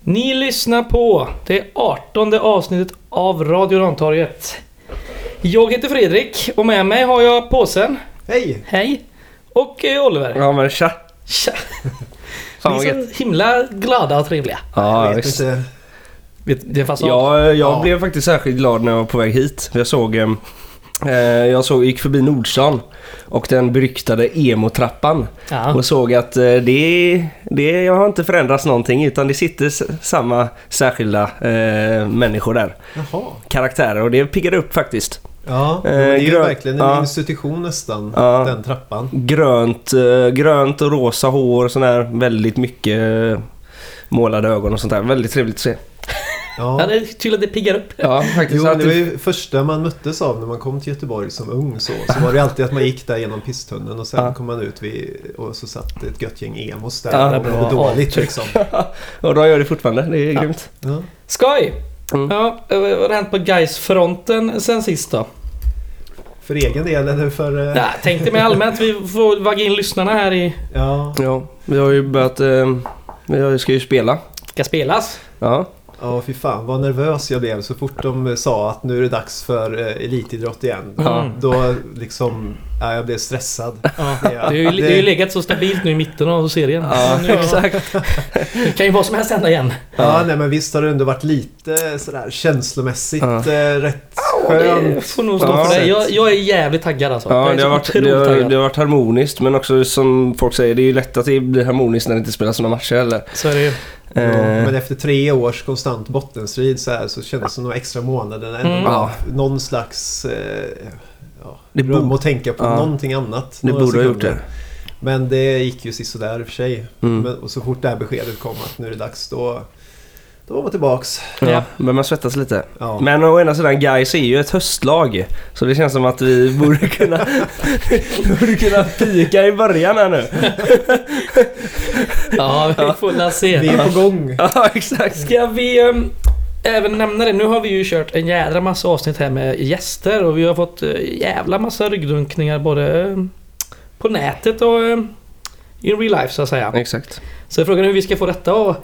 Ni lyssnar på det artonde avsnittet av Radio Rantorget. Jag heter Fredrik och med mig har jag påsen. Hej! Hej! Och eh, Oliver. Ja men tja! Tja! Fan Ni vad är gött. så himla glada och trevliga. Ja, jag vet visst. inte. Vet- Det är fast Jag, jag Ja. blev faktiskt särskilt glad när jag var på väg hit. Jag såg... em, Eh, jag såg, gick förbi Nordstan och den beryktade emo-trappan ja. och såg att eh, det, det jag har inte förändrats någonting utan det sitter s- samma särskilda eh, människor där. Jaha. Karaktärer och det piggade upp faktiskt. Ja, Eh, det är ju grön- verkligen en ja. institution nästan, Ja. den trappan. Grönt, eh, grönt och rosa hår och sån här väldigt mycket eh, målade ögon och sånt där. Väldigt trevligt att se. Ja, Ja. det är tydligt att det piggar upp. Ja, faktiskt. Jo, Så att det var det- ju första man möttes av när man kom till Göteborg som ung så. Så var det ju alltid att man gick där genom pisstunneln och sen Ja. kom man ut vid, och så satt ett gött gäng emos Ja, där och det mådde var dåligt avtryck. liksom. Och då gör det fortfarande. Det är Ja. grymt. Ja. Skoj! Mm. Ja, eh, vad har hänt på guys fronten sen sist då? För egen del eller för... eh, Nej, tänkte mig allmänt. Vi får vagga in lyssnarna här i... Ja, Ja, vi har ju börjat... Eh, vi ska ju spela. Ska spelas. Ja. ja fy fan vad nervös jag blev så fort de eh, sa att nu är det dags för eh, elitidrott igen. Ja. Då liksom, ja, jag blev stressad. Mm. Ja. Det- Det har ju, det har ju legat så stabilt nu i mitten av serien. Ja, nu, exakt. Det kan ju vad som helst hända igen. Ja, nej men visst har det ändå varit lite sådär känslomässigt Ja. eh, rätt Det skönt. får nog stå Ja. för dig. Jag, jag är jävligt taggad alltså. ja jag är det, så har varit, otroligt det, har, taggad. det har varit harmoniskt men också som folk säger, det är ju lätt att det blir harmoniskt när det inte spelas några matcher heller. Så är det ju. Ja, Eh, Men efter tre års konstant bottenstrid så här så kändes det som de extra månaderna ändå Mm. var Ja. någon slags eh, ja, Det rum borde- att tänka på ja. någonting annat. det några borde ha gjort det. sekunder. Men det gick ju sisådär i och för sig. Mm. Men, och så fort det här beskedet kom att nu är det dags då, då var man tillbaks. Ja. Ja, men man svettas lite. Ja. Men å ena sidan, Gais är ju ett höstlag. Så det känns som att vi borde kunna, borde kunna pika i början här nu. Ja, vi får la se. Vi är på gång. Ja, exakt. Ska vi ehm, även nämna det? Nu har vi ju kört en jädra massa avsnitt här med gäster och vi har fått eh, jävla massa ryggdunkningar både ehm, på nätet och ehm, in real life så att säga. Exakt. Så frågan är hur vi ska få detta att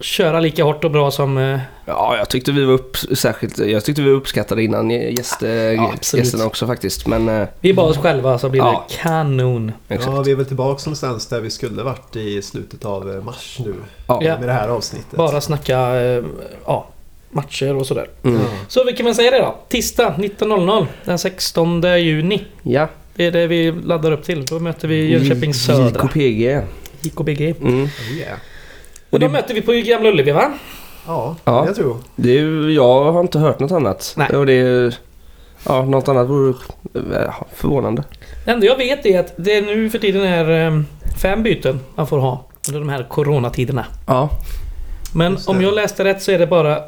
köra lika hårt och bra som... eh, Ja, jag tyckte vi var upp, särskilt, jag tyckte vi var uppskattade innan gäst, Ja, absolut. gästerna också faktiskt. Men eh, Vi är bara oss själva så blir det Ja. kanon. exakt. Ja, vi är väl tillbaks någonstans där vi skulle varit i slutet av eh, mars nu Ja. Ja. med det här avsnittet. Bara snacka eh, ja, matcher och sådär. Mm. Ja. Så vi kan väl säga det då. Tisdag 19.00 den 16 juni. ja. Det är det vi laddar upp till. Då möter vi Jönköping Södra. JKPG. JKBG. Mm. Yeah. Och då möter vi på Gamla Ullevi va? Ja, Ja. jag tror. Det är, ju- jag har inte hört något annat. Nej. Och det är, ja, något annat vore eh, förvånande. Det enda jag vet är att det nu för tiden är eh, fem byten man får ha under de här coronatiderna. Ja. Men Just det. om jag läste rätt så är det bara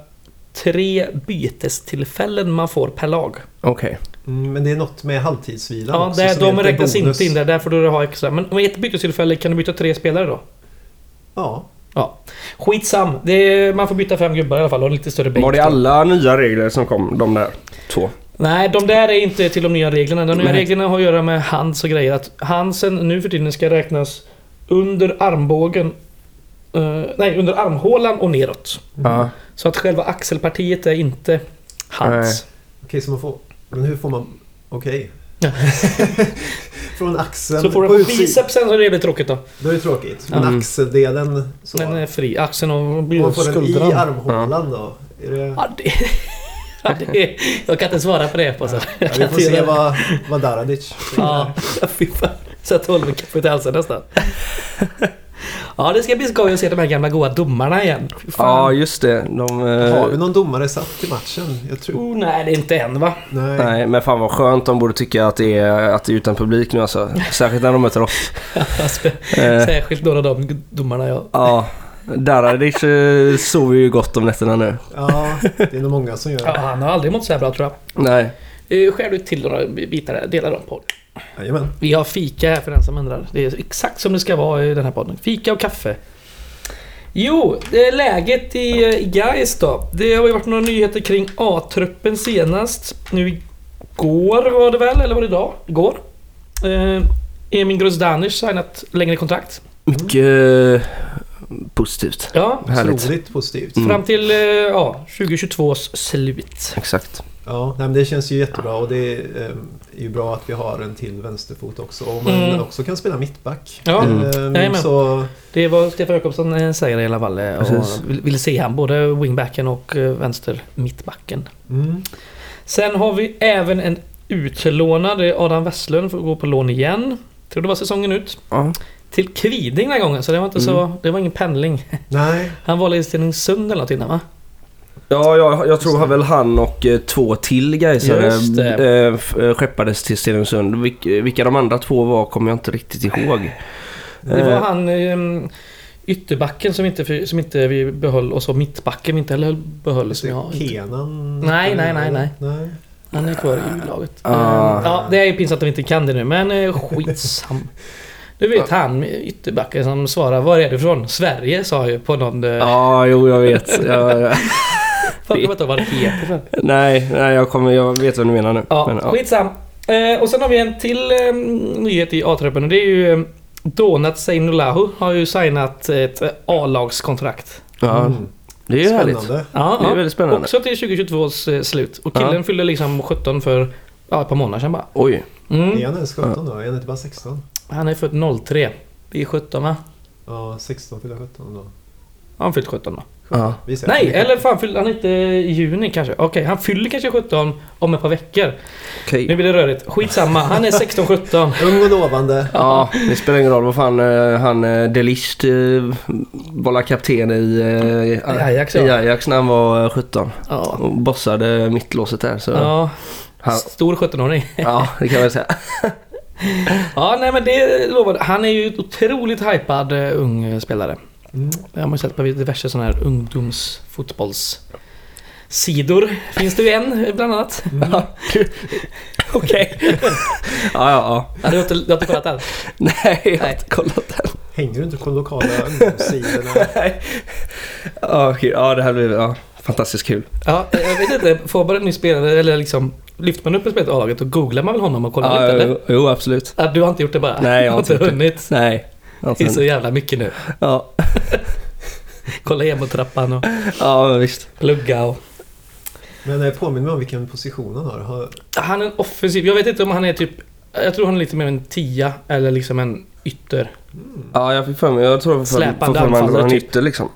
tre bytestillfällen man får per lag. Okej. Mm, Men det är något med halvtidsvilan Ja, också, där, som är de lite räknas bonus. inte in där. Där får du ha extra. Men om ett bytestillfälle kan du byta tre spelare då? Ja. Ja. Skitsam. Det är, man får byta fem gubbar i alla fall och en lite större bänk. Var det då. alla nya regler som kom? De där två? Nej, de där är inte till de nya reglerna. De nya Nej. reglerna har att göra med hands och grejer. Att handsen nu för tiden ska räknas under armbågen. eh, nej, under armhålan och neråt. Mm. Ja. Så att själva axelpartiet är inte hands. Okej, så man får... Men hur får man... Okej. Ja. Från axeln Så får på du utsidan. bicepsen så är det jävligt tråkigt då. Då är det tråkigt. Men Mm. axeldelen så. Den är fri. Axeln Om man och får den i skuldran. armhålan då? Är det... Ja, det... Ja, det... Jag kan inte svara på det. På, så. Ja, vi får se vad, vad Daradic säger. Ja, fy fan. Så att håller mig kaffet i halsen nästan. Ja, det ska bli skoj att se de här gamla goa domarna igen. Fy fan. Ja, just det. De, eh, Har vi någon domare satt i matchen? Jag tror... Oh, nej, det är inte än va? Nej. Nej, men fan vad skönt de borde tycka att det är, att det är utan publik nu alltså. Särskilt när de möter oss. Alltså, Eh, Särskilt några av de domarna jag... Ja, Daradic eh, sover ju gott om nätterna nu. Ja, det är nog många som gör Ja, det. han har aldrig mått så här bra tror jag. Nej. Eh, Skär du till några bitar där, dela dem på. Jajamän. Vi har fika här för den som undrar. Det är exakt som det ska vara i den här podden. Fika och kaffe. Jo, det är läget i eh, i Gais då. Det har ju varit några nyheter kring A-truppen senast. Nu igår var det väl, eller var det idag? Igår. Eh, Emin Grozdanic signat längre kontrakt. Mycket positivt. Ja, Härligt. Otroligt positivt. Mm. fram till eh, ja, 2022s slut. Exakt. Ja, nej, men det känns ju jättebra och det eh, är ju bra att vi har en till vänsterfot också. Och man Mm. också kan spela mittback. Ja, Ehm, jajamän. så Det är vad Stefan Jakobsson eh, säger i alla fall. eh, Precis. Och vill, vill se han, både wingbacken och eh, vänster mittbacken. mm, Sen har vi även en utlånad. Det är Adam Westlund får gå på lån igen. Tror det var säsongen ut. Ja. Till Kviding den här gången, så det var inte så... Mm. Det var ingen pendling. nej, Han var i Stenungsund eller något innan va? Ja, jag, jag tror väl han och eh, två till Gaisare Just eh, f- eh, skeppades till Stenungsund. Vilk, eh, vilka de andra två var kommer jag inte riktigt ihåg. Det var Eh. han eh, ytterbacken som inte, som inte vi behöll och så mittbacken vi inte heller behöll. Som jag. Kenan? Nej, nej, nej, nej. nej. Han är kvar i U-laget. Ah. Eh, Ja, det är ju pinsamt att vi inte kan det nu men eh, skitsam. Du vet han ytterbacken som svarar Var är du från? Sverige sa ju på någon... eh, Ja, jo jag vet. Jag, Fan, jag, jag kommer inte ihåg vad det heter. för. nej, nej jag, kommer, jag vet vad du menar nu. Ja, Men, ja. skitsam. Eh, och sen har vi en till eh, nyhet i A-truppen och det är ju eh, Donat Seinolahu har ju signat ett eh, A-lagskontrakt. Ja, Mm, det är ju härligt. Spännande. Ja, Det är väldigt spännande. Också till 2022s eh, slut. Och killen Ja. fyllde liksom 17 för ja, ett par månader sedan bara. Oj. Mm. Är han ens 17 då? Är han inte bara 16? Han är född 03. Vi är 17 va? Ja, 16 fyller 17 då. Har han fyllt 17 då? Ja. Vi säger Nej, att det är eller fan fyllde han inte i juni kanske? Okej, han fyller kanske 17 om ett par veckor. Okej. Nu blir det rörigt. Skitsamma, han är 16-17. Ung och lovande. Ja, det spelar ingen roll vad fan eh, han eh, Delist eh, var la kapten i, eh, i Ajax, ja. i Ajax när han var eh, 17 Ja. och bossade mittlåset där. Så ja. Han, Stor 17-åring. ja, det kan man säga. Ja, nej men det lovade. Han är ju ett otroligt hypad eh, ung eh, spelare. Mm. Jag har man ju sett på diverse sådana här ungdomsfotbollssidor. Finns det ju en eh, bland annat. Okej. Ja, ja, ja. Ja, du har inte, du har inte kollat alls? Nej, jag har inte kollat den. Hänger du inte på de lokala ungdomssidorna? Ja, okej. ja, det här blir ja, fantastiskt kul. Ja, eh, jag vet inte. Får man en ny spelare eller liksom... Lyfter man upp en spelare i A-laget och googlar man väl honom och kollar Ja, lite eller? jo, jo, absolut. Ja, du har inte gjort det bara? Nej, jag har inte inte gjort det. Alltså- hunnit. Nej. jag har Det är inte så hunnit. jävla mycket nu. Ja, Kolla emotrappan och ja men visst. plugga och... Men eh, påminn mig om vilken position han har. har Han är en offensiv. Jag vet inte om han är typ... Jag tror han är lite mer en tia eller liksom en ytter. Ja, jag fick för mig. Jag tror jag får för mig Släpande får för mig att det var en anfallare, typ. ytter liksom.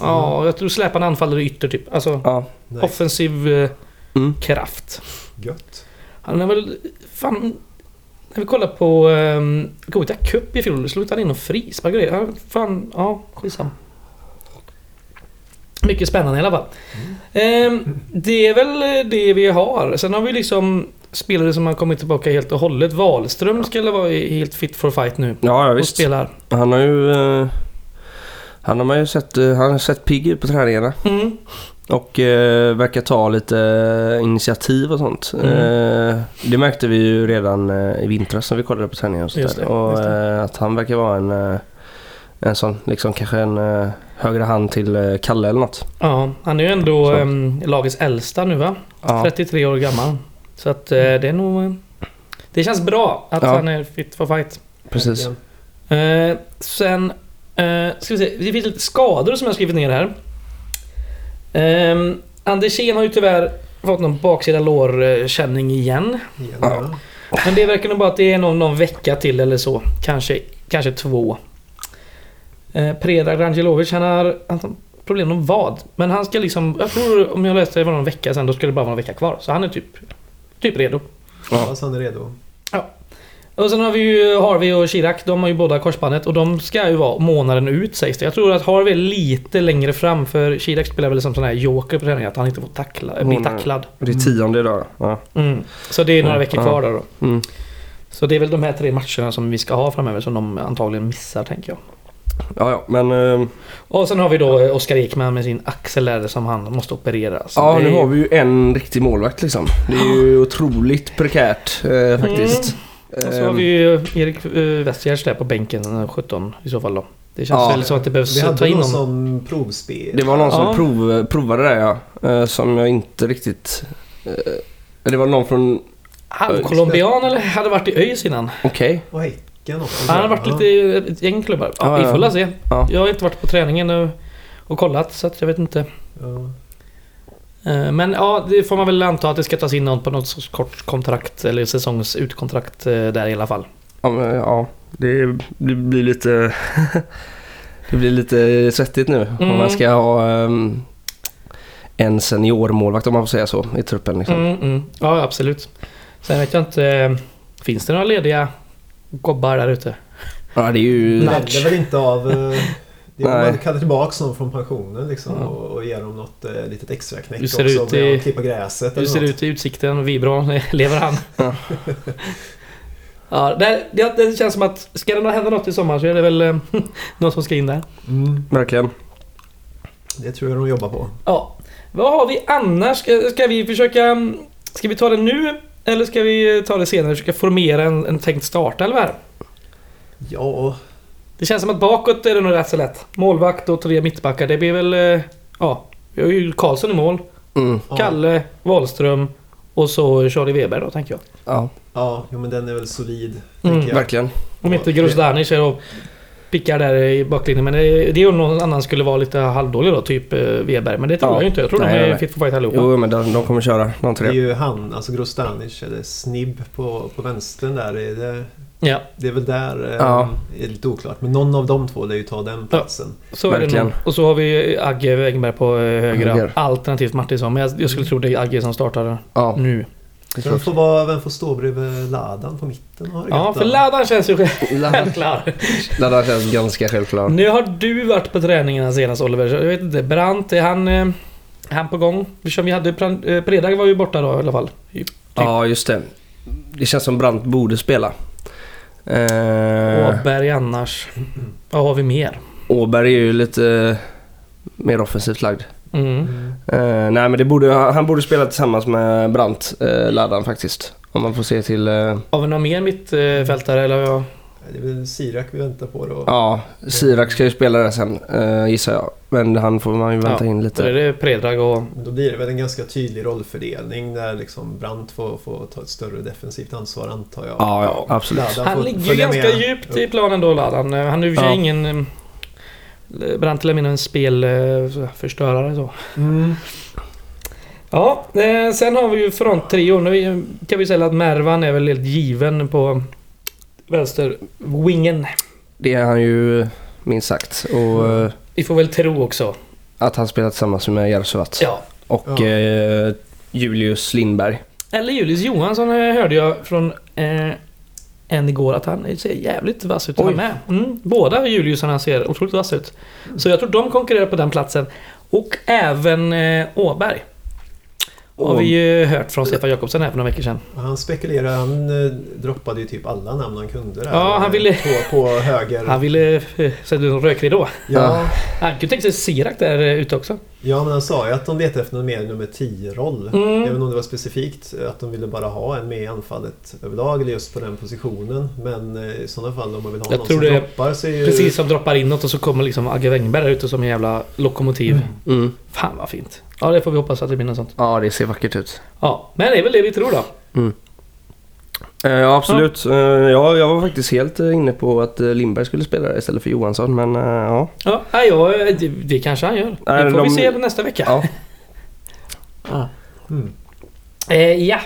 Ja, jag tror släpande anfallare ytter typ. Alltså Ja. nej, offensiv eh, Mm. kraft. Gött. Han är väl... Fan... När vi kollar på um, Gothia Cup i fjol, slog inte han in någon frispark och grejer? Ja, Fan, ja, skitsam. Mycket spännande i alla fall. Mm. Ehm, det är väl eh, det vi har. Sen har vi liksom spelare som har kommit tillbaka helt och hållet. Wahlström skulle vara i- helt fit for fight nu. Ja, ja, Och visst. spelar. Han har ju... eh, han har man ju sett, eh, han har sett pigg ut på träningarna Mm. och eh, verkar ta lite eh, initiativ och sånt. Mm. Eh, det märkte vi ju redan eh, i vintras när vi kollade på träningarna och, sånt Just där. det, och just eh, att han verkar vara en, eh, en sån, liksom kanske en eh, högre hand till eh, Kalle eller något. Ja, han är ju ändå Så. ehm, lagets äldsta nu va? Ja, 33 år gammal. Så att eh, det är nog... eh, Det känns bra att Ja. han är fit for fight. precis. Verkligen. Eh, sen... Eh, ska vi se, det finns lite skador som jag har skrivit ner här. Eh, Andersén har ju tyvärr fått någon baksida lårkänning igen. Igen, Ja. ja. Men det verkar nog bara att det är någon, någon vecka till eller så. Kanske, kanske två. Eh, Predrag Rangelovic, han har, han har problem med vad. Men han ska liksom... Jag tror om jag läste det var någon vecka sen, då skulle det bara vara en vecka kvar. Så han är typ, typ redo. Ja. Ja, så han är redo. Och sen har vi ju Harvey och Chirac, de har ju båda korsbandet och de ska ju vara månaden ut sägs det. Jag tror att Harvey är lite längre fram för Chirac spelar väl som sån här joker på träningen, att han inte får tackla, bli Månaden. tacklad. Det är tionde idag. Ja. Mm. Så det är några Mm. veckor kvar då, då. Mm. Så det är väl de här tre matcherna som vi ska ha framöver som de antagligen missar tänker jag. ja, ja, men... eh, Och sen har vi då eh, Oskar Ekman med sin axel där som han måste operera. Så Ja, det är- nu har vi ju en riktig målvakt liksom. Det är ju otroligt prekärt eh, faktiskt. Mm. Och så har Ehm, vi ju Erik eh, Westergärds där på bänken, eh, 17 i så fall då. Det känns Ja. väl som att det Vi behövs ta hade in någon någon. som provspel. Det var någon som Ja. prov, provade det ja. eh, Som jag inte riktigt... eh, Det var någon från... Halvcolombian eller? Hade varit i ÖIS innan. Okej. Oj, Häcken också. Han har varit lite i ett gäng klubbar. Ja, Ja, ja. Vi får väl se. Ja. Jag har inte varit på träningen och, och kollat så att jag vet inte. Ja. Eh, Men ja, det får man väl anta att det ska tas in någon på något sorts kort kontrakt eller säsongsutkontrakt eh, där i alla fall. Ja, men, ja. Det, det blir lite... det blir lite svettigt nu om Mm. man ska ha ehm, en seniormålvakt om man får säga så i truppen. Liksom. Mm, mm. Ja, absolut. Sen vet jag inte. eh, Finns det några lediga gobbar där ute? Ja, det är ju... Det händer väl inte av... eh, Det är Nej. man kallar tillbaka någon från pensionen liksom Ja. och, och ger dem något eh, litet extra knäck Hur ser det också. ut med i- att klippa gräset Hur eller ser det något. ut i utsikten? Vibron, lever han? Ja. ja, det, det, det känns som att ska det hända något i sommar så är det väl eh, någon som ska in där. Mm, Verkligen. det tror jag de jobbar på. Ja. Vad har vi annars? Ska, ska vi försöka... mm, Ska vi ta det nu? Eller ska vi eh, ta det senare? Försöka formera en, en tänkt startelva här? Ja, Det känns som att bakåt är det nog rätt så lätt. Målvakt och tre mittbackar. Det blir väl... eh, Ja, vi har ju Karlsson i mål. Mm. ja, Kalle, Wahlström och så Charlie Weber då, tänker jag. Ja, ja jo, men den är väl solid. Mm, tänker jag. verkligen. Om inte Grosdanic är och pickar där i baklinjen. Men eh, det, det är om någon annan skulle vara lite halvdålig då, typ eh, Weber. Men det tror Ja. jag ju inte. Jag tror Nej, de är nej, nej. fit for fight allihopa. Jo, men de, de kommer köra de Det är tre. ju han, alltså Grostanic, eller Snibb på, på vänstern där. Det, det, Ja, det är väl där eh, Ja. det är lite oklart. Men någon av de två lär ju ta den platsen. så är det Verkligen. nog. Och så har vi Agge Engberg på eh, högra. Höger. Alternativt Martinsson. Men jag, jag skulle tro det är Agge som startar Mm. Ja, Mm. nu. det tror Vem jag. får, vara, vem får stå bredvid Ladan på mitten? Har det Ja, gött, för då? Ladan känns ju Ladan- självklar. Ladan känns ganska självklar. Nu har du varit på träningarna senast Oliver. så Jag vet inte. Brandt, är han, eh, han på gång? Som vi hade... Pran- eh, Predag var ju borta då i alla fall. Typ. Ja, just det. Det känns som Brandt borde spela. Eh, Åberg annars. Vad har vi mer? Åberg är ju lite mer offensivt lagd. Mm. Mm. Eh, nej men det borde, han borde spela tillsammans med Brandt, eh, Ladan faktiskt. Om man får se till, eh, Har vi några mer mittfältare eller? vad? Det är väl Sirak vi väntar på då. ja, Sirak ska ju spela där sen eh, gissar jag. Men han får man ju vänta Ja, in Då är lite. det Predrag och... Men Då blir det väl en ganska tydlig rollfördelning där liksom Brandt får, får ta ett större defensivt ansvar antar jag. Ja, ja, absolut. Ladan Han får ligger ju följa ganska med. djupt i planen då Ladan. Eh, Han är ju för Ja. sig ingen... eh, Brandt eller mindre en spelförstörare så. Mm. Ja, eh, sen har vi ju fronttrion. Nu är- kan vi säga att Mervan är väl helt given på vänster-wingen. Det är han ju eh, minst sagt. Och eh, Vi får väl tro också. att han spelar tillsammans med Jarosovac. Ja. Och Ja. eh, Julius Lindberg. Eller Julius Johansson eh, hörde jag från eh, en igår att han ser jävligt vass ut han Oj. med. Mm, båda Juliusarna ser otroligt vassa ut. Så jag tror de konkurrerar på den platsen. Och även eh, Åberg. Har vi ju hört från Stefan Jakobsen här för några veckor sedan. Och Han spekulerade, han eh, droppade ju typ alla namn han kunde där. Ja, han ville- På, på höger. Han ville eh, sätta ut en rökridå. Ja, Han kunde tänka sig Sirak där eh, ute också. ja, men han sa ju att de letar efter en mer nummer 10-roll. Mm. Jag vet inte om det var specifikt eh, att de ville bara ha en med i anfallet överlag eller just på den positionen. Men eh, i sådana fall om man vill ha Jag någon tror som det är droppar så är ju... Precis som droppar inåt och så kommer liksom Agge Wängberg där ute som en jävla lokomotiv. Mm. Fan vad fint. Ja, det får vi hoppas att det blir något sånt. Ja, det ser vackert ut. Ja, men det är väl det vi tror då. Eh, ja, absolut. Ja. ja, jag var faktiskt helt eh, inne på att eh, Lindberg skulle spela där istället för Johansson, men eh, ja. Ja, nej, ja det, det kanske han gör. Nej, Det får de- vi se nästa vecka. ja. Mm. Eh, ja.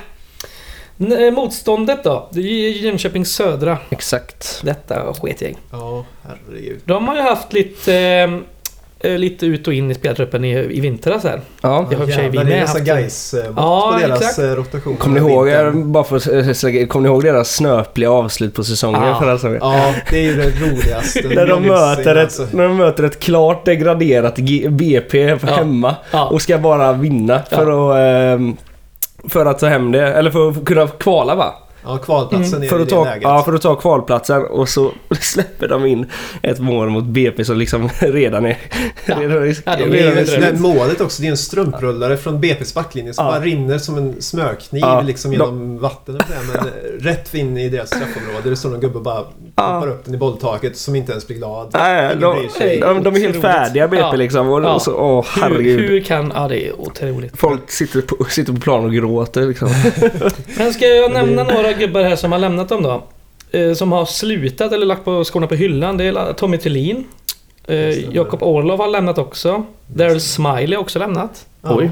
N- eh, Motståndet då? Det är ju Jönköping Södra. Exakt. Detta sketgäng. Ja, herregud. De har ju haft lite, eh, eh, lite ut och in i speltruppen i, i vintras här. Ja. Det har i och för sig vi Jävlar, det med är nästan haft. Gais-mått Ja, på deras exakt. eh, rotation. Kommer ni, ihåg, er- bara för, att slänga in, kommer ni ihåg deras snöpliga avslut på säsongen Ja. förra säsongen? Ja, det är ju det roligaste. När de, Det är möter ett, alltså. när de möter ett klart degraderat G- BP på Ja. hemma Ja. och ska bara vinna för, att, ehm, för att ta hem det. Eller för att kunna kvala va? Ja, kvalplatsen är För i att, det ta, läget. ja, för att ta kvalplatsen och så släpper de in ett mål mot BP som liksom redan är... Ja. redan är, Ja, de det är det ju är det drömt. där målet också. Det är en strumprullare från BP's backlinje som Ja. bara rinner som en smörkniv Ja. liksom genom vatten och sådär, Men eh, rätt in i deras straffområde. Det står någon gubbe och bara pumpar upp den i bolltaket som inte ens blir glad. Nej, Ingen de, bryr sig. de, de är helt Otroligt. färdiga BP Ja. liksom. Och, Ja. och så, åh, Hur, herregud. hur kan... Ja, det är otroligt. Folk sitter på, sitter på plan och gråter liksom. Men ska jag nämna några gubbar här som har lämnat dem då? eh, som har slutat eller lagt på skorna på hyllan, det är Tommy Thelin. Just Eh, det. Jakob Orlov har lämnat också. Daryl Smiley har också lämnat. Ja. Oj.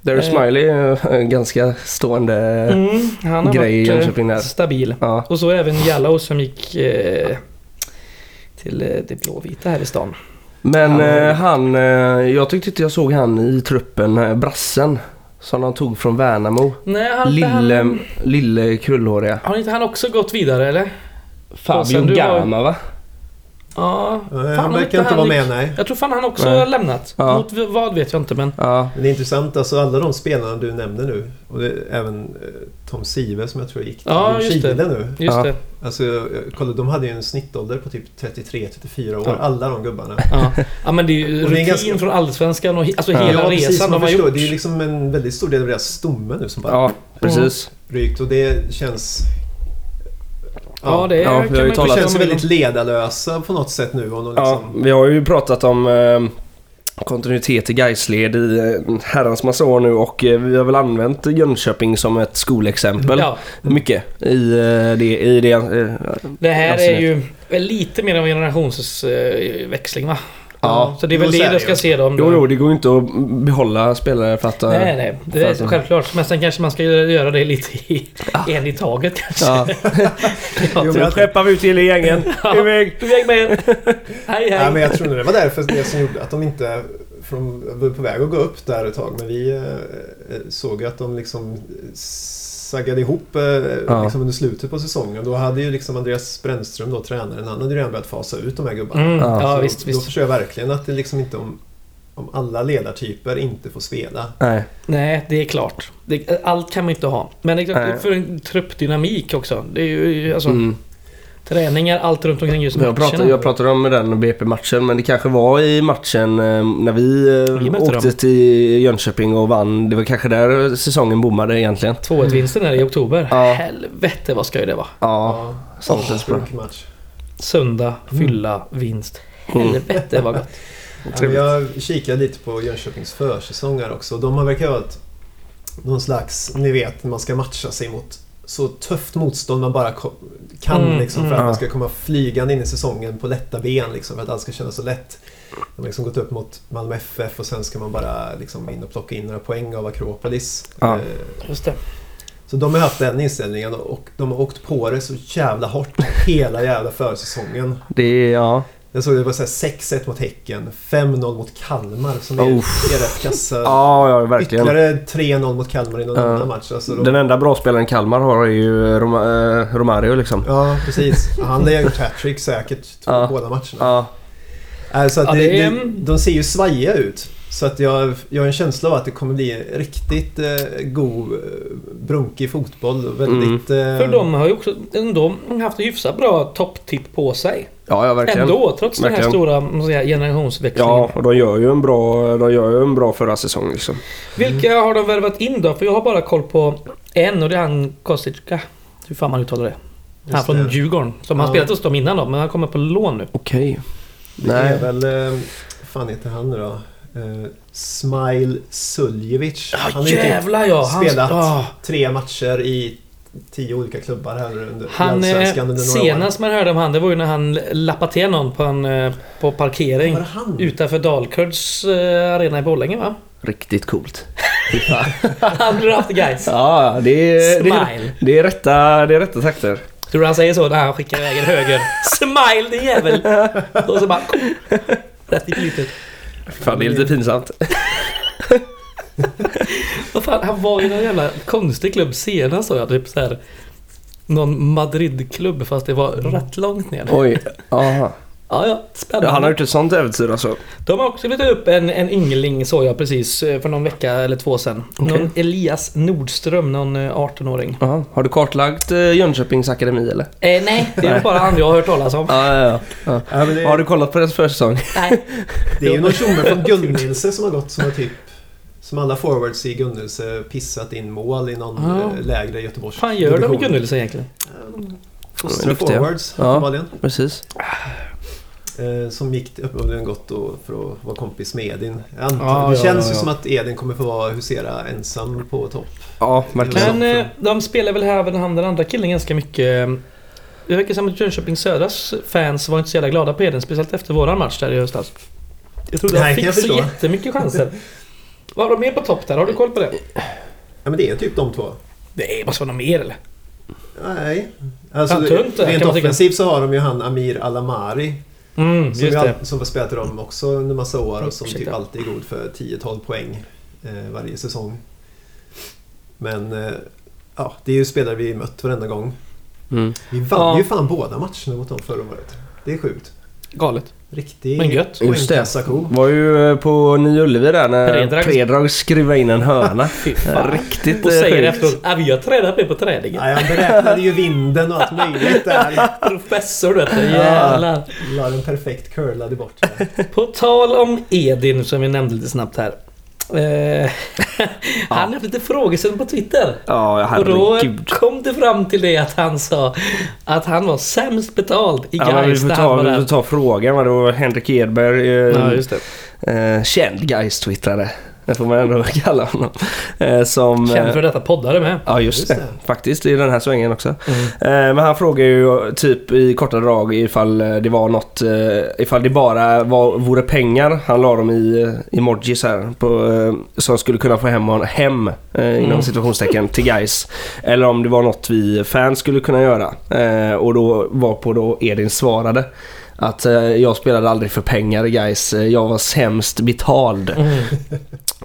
Daryl Eh. Smiley är en ganska stående... Mm, han har Grej i varit Jönköping eh, där. stabil. Ja. Och så även Jallow som gick eh, till eh, det blåvita här i stan. Men Han- eh, han... Eh, jag tyckte inte jag såg han i truppen, eh, brassen. Som de tog från Värnamo. Nej, han, Lille, han, lille krullhåriga. har inte han också gått vidare eller? Fabian, Fabio du var- Gama va? Ja, Eh, fan, Han om verkar inte vara gick- med, nej. Jag tror fan han också Nej. har lämnat. Ja. Mot v- vad vet jag inte men. Ja. Men det är intressant, alltså alla de spelarna du nämnde nu och det är även eh, Tom Sive som jag tror gick till Ja, just Chile det. nu. Just Ja. det. Alltså, jag- kolla, de hade ju en snittålder på typ 33-34 år, Ja. alla de gubbarna. Ja. ja men det är ju Och det är rutin ganska- från Allsvenskan och he- alltså Ja. hela resan man de har förstår. gjort. Det är ju liksom en väldigt stor del av deras stomme nu som bara ja, precis. rykt och det känns... Ja, det är, Ja, vi har ju De talat- känns väldigt ledarlösa på något sätt nu. Och de Ja, liksom, vi har ju pratat om eh, kontinuitet i Gaisled i eh, herrans massa år nu och eh, vi har väl använt Jönköping som ett skolexempel. Ja, Mycket i eh, det. I det eh, det här är Absolut. ju väl lite mer av en generationsväxling va? ja. Så det är väl Jo, så är det du det ska ju. se dem. Jo, jo, det går ju inte att behålla spelare för att... eh, Nej, nej. Det för är att de- självklart. Men sen kanske man ska göra det lite i, en i taget kanske. Ja. Ja, Jo, men skeppar vi ut hela gängen. Iväg! Iväg med er! Hej, Nej, men hej! jag tror nog det var därför det som gjorde att de inte... För de var på väg att gå upp där ett tag men vi eh, såg ju att de liksom saggade ihop eh, Ja. liksom under slutet på säsongen. Då hade ju liksom Andreas Brännström, då, tränaren, han hade ju redan börjat fasa ut de här gubbarna. Mm, Ja. ja, Så visst, då visst. förstår jag verkligen att det liksom inte om, om alla ledartyper inte får spela. Nej. Nej, det är klart. Det, allt kan man inte ha. Men det är klart, Nej. för en truppdynamik också. Det är ju alltså, Mm. träningar, allt runt omkring just Jag, pratade, jag pratade om den BP-matchen men det kanske var i matchen eh, när vi, eh, Vi mötte åkte dem. till Jönköping och vann. Det var kanske där säsongen bommade egentligen. 2-1-vinsten är i oktober. Mm. Ja. Helvete vad skoj det var. Ja, sånt Åh, känns bra. sjuk match. Söndag, fylla, vinst. Mm. Helvete vad gott. Ja, men jag kikade lite på Jönköpings försäsong här också. De har verkar ha ett, någon slags, ni vet, när man ska matcha sig mot så tufft motstånd man bara ko- kan Mm, liksom, mm. för att man Ja. ska komma flygande in i säsongen på lätta ben liksom, för att allt ska kännas så lätt. De har liksom gått upp mot Malmö FF och sen ska man bara liksom, in och plocka in några poäng av Akropolis. Ja. Eh, Just det. Så de har haft den inställningen och de har åkt på det så jävla hårt hela jävla försäsongen. Det är, ja. Jag såg det var så här 6-1 mot Häcken, 5-0 mot Kalmar som är, Uff. är rätt kassa. Ja, ja verkligen. Ytterligare 3-0 mot Kalmar i någon Ja. annan match. Alltså de, Den enda bra spelaren Kalmar har är ju Roma, eh, Romario liksom. Ja, precis. Han har gjort hattrick säkert Ja. båda matcherna. Ja, Äh, så att Ja, det, det är- det, de ser ju svajiga ut. Så att jag, jag har en känsla av att det kommer bli en riktigt eh, god, eh, brunkig fotboll. och Väldigt... Mm. eh, För de har ju också ändå haft en hyfsat bra topptipp på sig. ja, ja verkligen. Ändå, trots den här Verkligen. stora man ska säga, generationsväxlingen. Ja, och de gör ju en bra, de gör ju en bra förra säsong liksom. Vilka har de värvat in då? För jag har bara koll på en och det är han Kostica. Hur fan man uttalar det. just Han från det. Djurgården. Som har Ja. spelat hos dem innan då, men han kommer på lån nu. Okej. Det är Nej. väl... eh, Vad fan heter han nu då? Eh, Smile Suljevic. Ja har ju typ jävlar ja! Han, spelat ja. tre matcher i tio olika klubbar här under han i eh, Allsvenskan under några Senast man hörde om han, det var ju när han lappade till någon på en eh, på år. parkering. Var det han? Utanför Dalkurds eh, arena i Borlänge va? Riktigt coolt. Han blir haft guys. Ja, det är, det, Smile. är, det, är rätta, det är rätta takter. Tror du han säger så när han skickar iväg en höger? Smile din jävel! Och så bara... Rätt i klippet. Fan, det är lite pinsamt. Vad fan, han var i någon jävla konstig klubb senast såg jag. Typ så här, någon Madrid-klubb fast det var rätt långt ner. Oj. Aha. Ja, ja, Ja, spännande. Han har gjort ett sånt äventyr alltså. De har också flyttat upp en, en yngling såg jag precis eh, för någon vecka eller två sedan. Okej. Någon Elias Nordström, någon eh, 18-åring. Aha. Har du kartlagt eh, Jönköpings akademi eller? Eh, nej, det är Nej. bara han jag har hört talas om. Ja, ja, ja. Ja, men det, ja. Har du kollat på deras försäsong? Nej. det är ju någon tjomme från Gunnelse som har gått som har typ... Som alla forwards i Gunnelse pissat in mål i någon Ja. eh, lägre Göteborgs Vad fan gör de i Gunnelse egentligen? De är duktiga. Forwards, Ja. uppenbarligen. Precis. Eh, som gick uppenbarligen gott då för att vara kompis med Edin. Jag antar, Ja, det ja, känns ja, ju ja. som att Edin kommer få vara husera ensam på topp. Ja, verkligen. Men eh, de spelar väl här även han den andra killen ganska mycket. Det verkar som att Jönköping Södras fans var inte så jävla glada på Eden, speciellt efter våran match där i höstas. Jag trodde Nej, de kan fick jag så förstå. jättemycket chanser. Vad har de mer på topp där? Har du koll på det? Ja, men det är typ de två. Nej, det måste vara något mer eller? Nej. Alltså, Fan, tunt det, rent kan man tycka. offensivt så har de ju han Amir Alamari. Mm, just Som, ju det. all, som har spelat i dem också en massa år och som typ Ursäkta. alltid är god för 10-12 poäng eh, varje säsong. Men eh, ja, det är ju spelare vi mött varenda gång. Mm. Vi vann Ja. ju fan båda matcherna mot dem förra året. Det är sjukt. Galet. Riktig Men gött. Just det. poängkassako. Var ju eh, på Nya Ullevi där när Predrag- Predrag, skruvade in en hörna. Fy fan. Riktigt Och eh, säger sjukt. efteråt att vi har tränat med på träningen. Nej, han beräknade ju vinden och allt möjligt där. Professor du vet, jävlar. La den perfekt curlade bort. det. På tal om Edin som vi nämnde lite snabbt här. Eh, han har haft lite frågeställning på Twitter. Ja, Och då herregud. kom det fram till det att han sa att han var sämst betald i Ja, men vi Gais får när han ta, var vi får där. ta frågan. va. Det var Henrik Edberg, eh, Ja, just det. eh, känd Gais-twittrare. Det får man ändå kalla honom. Eh, som, Känd eh, för detta poddare med. Ja, just, Just det. det. Faktiskt, i den här svängen också. Eh, men han frågar ju typ i korta drag ifall eh, det var något, eh, ifall det bara var, vore pengar. Han la dem i eh, emojis här. På, eh, som skulle kunna få hem, hon- hem eh, inom Mm. situationstecken till guys Eller om det var något vi fans skulle kunna göra. Eh, och då var på då Edin svarade. Att eh, jag spelade aldrig för pengar guys. Eh, Jag var sämst betald Mm.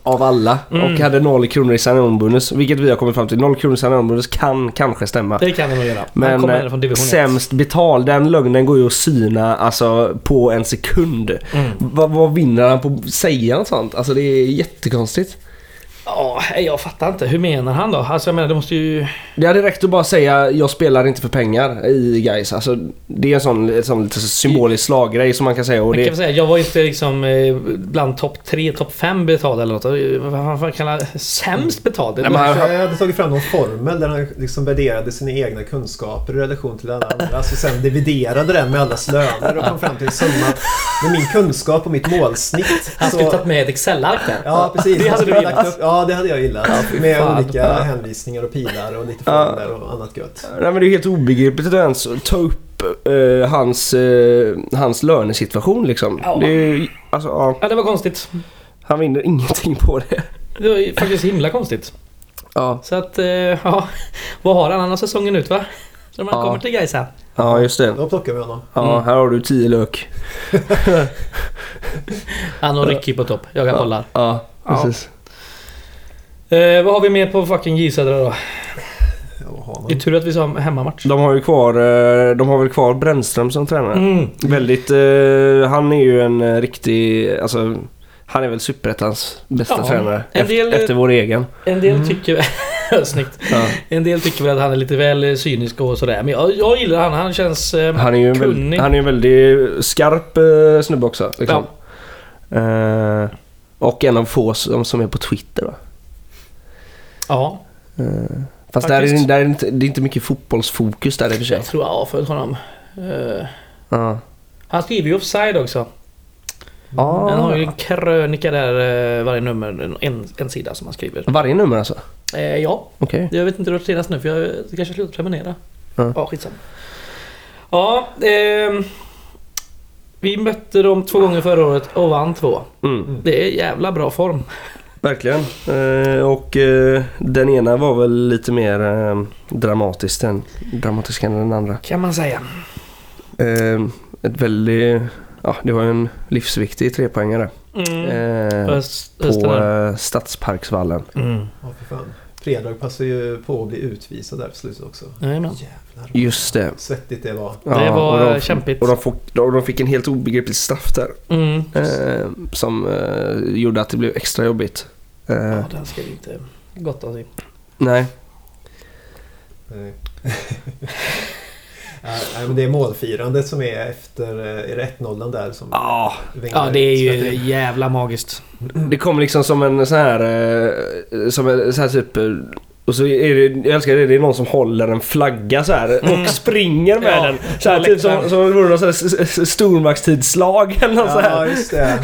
av alla Mm. och hade 0 kronor i sanonbonus. Vilket vi har kommit fram till. 0 kronor i sanonbonus kan kanske stämma. Det kan han nog göra. han Men kommer eh, ändå från division 1. sämst betald, den lögnen går ju att syna alltså, på en sekund. Mm. Vad, vad vinner han på att säga något sånt? Alltså det är jättekonstigt. Ja, nej, jag fattar inte. Hur menar han då? Alltså jag menar, det måste ju... Det hade räckt att bara säga jag spelar inte för pengar i guys. Alltså Det är en sån, en sån lite symbolisk slaggrej som man kan säga. Och Man kan det, väl säga, jag var inte liksom eh, bland topp 3, topp 5 betald eller något. Eh, Vad fan- vad kallar Sämst betald? Det Nej, låter- men- Så Jag hade tagit fram någon formel där han liksom värderade sina egna kunskaper i relation till alla andra. Så sen dividerade den med allas löner och kom fram till en summa med min kunskap och mitt målsnitt. Han skulle Så, tagit med ett Excel-ark där. ja, precis. Det Han hade skulle du ha gillat. lagt upp- Ja, det hade jag gillat. med fan. olika hänvisningar och pilar och lite Ja. formler och annat gött. Nej, men det är ju helt obegripligt att ens ta upp eh, hans, eh, hans lönesituation liksom. Ja. Det är ju, alltså, ja. Ja, det var konstigt. Han vinner ingenting på det. Det var ju faktiskt himla konstigt. Ja, Så att, eh, ja. Vad har han annars säsongen ut va? Så man Ja. kommer till Gais här. ja just det. Då plockar vi honom. Ja, Mm. här har du 10 lök. Han och Ricky på topp. Jag Ja. kollar. Ja, Ja. precis. Eh, vad har vi mer på fucking J Södra då? Ja, vad har Det är man? tur att vi sa hemmamatch. De har ju kvar, eh, de har väl kvar Brännström som tränare. Mm. Väldigt, eh, han är ju en eh, riktig, alltså han är väl superettans bästa Ja, tränare. en Eft- del- Efter vår egen. En del tycker... Snyggt. Ja. En del tycker väl att han är lite väl eh, cynisk och sådär. Men jag, jag gillar han. Han känns... Eh, Han är ju en, Kunnig. väl, han är en väldigt skarp eh, snubbe också. Liksom. Eh, och en av få som, som är på Twitter va? ja. Eh, fast där är, Faktiskt. det- där är det inte, det är inte mycket fotbollsfokus där i och för sig. Jag tror jag har följt honom. Eh, Ja. han skriver ju offside också. Ah. Han har ju en krönika där eh, varje nummer. En, en sida som han skriver. Varje nummer alltså? Eh, ja. Okej. Jag vet inte hur det roteras nu för jag jag kanske slutar prenumerera. Ja. Ja, skitsamma. Ja, ehm, vi mötte dem två gånger förra året och vann två. Mm. Det är jävla bra form. Verkligen. Eh, och eh, den ena var väl lite mer eh, dramatisk, än, dramatisk än den andra. Kan man säga. Eh, ett väldigt... Ja, det var ju en livsviktig trepoängare. Mm. Eh, Öst, på Österna. eh, Stadsparksvallen. Mm. Ja, fy fan. Predrag passar ju på att bli utvisad där på slutet också. Jajamän. Jävlar. Just det. Svettigt det var. Det var och kämpigt. Och de, fick, och de fick en helt obegriplig straff där. Mm. Eh, som eh, gjorde att det blev extra jobbigt. Eh, Ja, den ska vi inte gotta oss i. Nej. Nej. Nej, Eh, nej, men det är målfirandet som är efter... eh, Är det 1-0 där som Ah, vinglar Ja, det är ut ju Svettig? jävla magiskt. Det kom liksom som en sån här... eh, Som en sån här typ... eh, Och så är det, jag älskar det, det är någon som håller en flagga så här och springer med Mm. Ja, den. Så här, på typ läktaren. som, som om det vore någon sån här s- s- s- stormaktstidslag eller något så Ja, här. just det.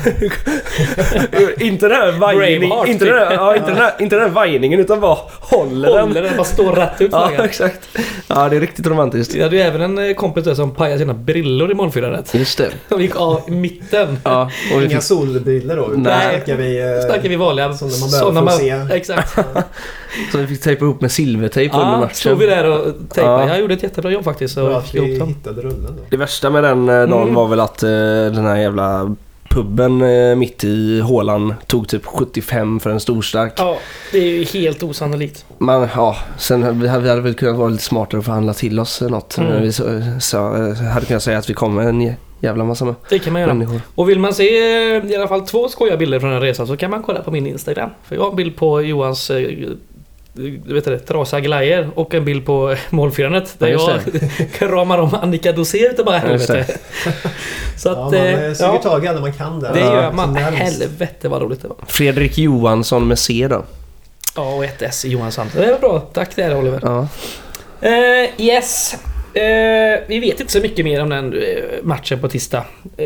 inte den här vajningen, Braveheart, typ. inte den här, ja, inte den här, inte den här vajningen utan bara håller, Håller den. den, bara står rätt ut Ja, flaggan. exakt. Ja, det är riktigt romantiskt. Jag hade ju även en eh, kompis där som pajade sina brillor i morgonfirandet. Just det. De gick av i mitten. Ja, och vi Inga fick, solbilder då. utan Nej. snackar vi, Då eh, typ- snackar vi vanliga Som när man sådana börjar få man- se. Exakt. så vi fick tejpa ihop med silvertejp under Ja, matchen. stod Ah, vi där och tejpade. Ja. Jag gjorde ett jättebra jobb faktiskt Bra och att fick ihop vi dem. hittade rullen då. Det värsta med den eh, dagen Mm. var väl att eh, den här jävla puben eh, mitt i hålan tog typ 75 för en storstark. Ja, det är ju helt osannolikt. Men ja, sen vi hade, vi hade väl kunnat vara lite smartare och förhandla till oss eh, något. Mm. Vi så, så, eh, hade kunnat säga att vi kommer en jä- jävla massa med Det kan man göra. människor. Och vill man se eh, i alla fall två skoja bilder från den här resan så kan man kolla på min Instagram. För jag har en bild på Johans eh, eh, vet du det, trasiga glajer och en bild på eh, målfirandet där Ja, just jag kramar om Annika Dosér utav bara Ja, just det. helvete. Så Ja, att... man eh, eh, suger ja, tag i alla man kan där. det Ja, gör som man. närmst. Helvete vad roligt det var. Fredrik Johansson med C då. Ja, och ett S i Johansson. Det var bra. Tack där Oliver. Ja. Eh, yes. Eh, vi vet inte så mycket mer om den eh, matchen på tisdag. Eh,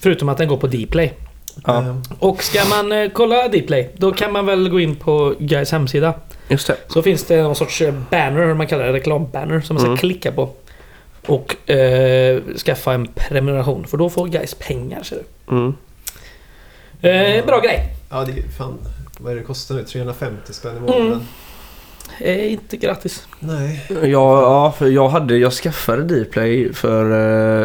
förutom att den går på Dplay. Ja. Eh, Och ska man eh, kolla Dplay, då kan man väl gå in på Guys hemsida. Just det. Så finns det någon sorts eh, banner, man kallar det reklambanner, som man ska Mm. klicka på. Och eh, skaffa en prenumeration, för då får Guys pengar ser du. Mm. Eh, bra grej. Ja, det är ju fan. Vad är det kostar nu? 350 spänn i månaden? Mm. Eh, inte gratis. Nej. Ja, ja, för jag, hade, jag skaffade Dplay för